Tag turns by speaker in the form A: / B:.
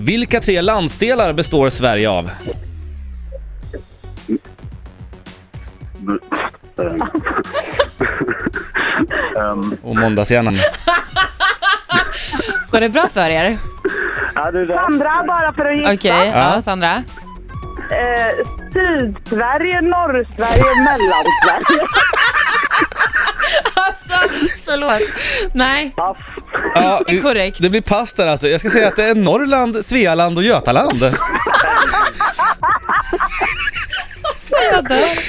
A: Vilka tre landsdelar består Sverige av?
B: Ehm,
A: Och måndagshjärnan.
C: Går det bra för er?
B: ja, det där.
D: Sandra, bara för att gissa.
C: Okej, ja.
A: Ja.
C: Sandra.
D: Eh, Sydsverige, Norrsverige, Mellansverige.
C: Alltså, förlåt. Nej,
B: Pass.
A: Ja,
C: Det är korrekt.
A: Det blir pass där alltså. Jag ska säga att det är Norrland, Svealand och Götaland.
C: så jag dör.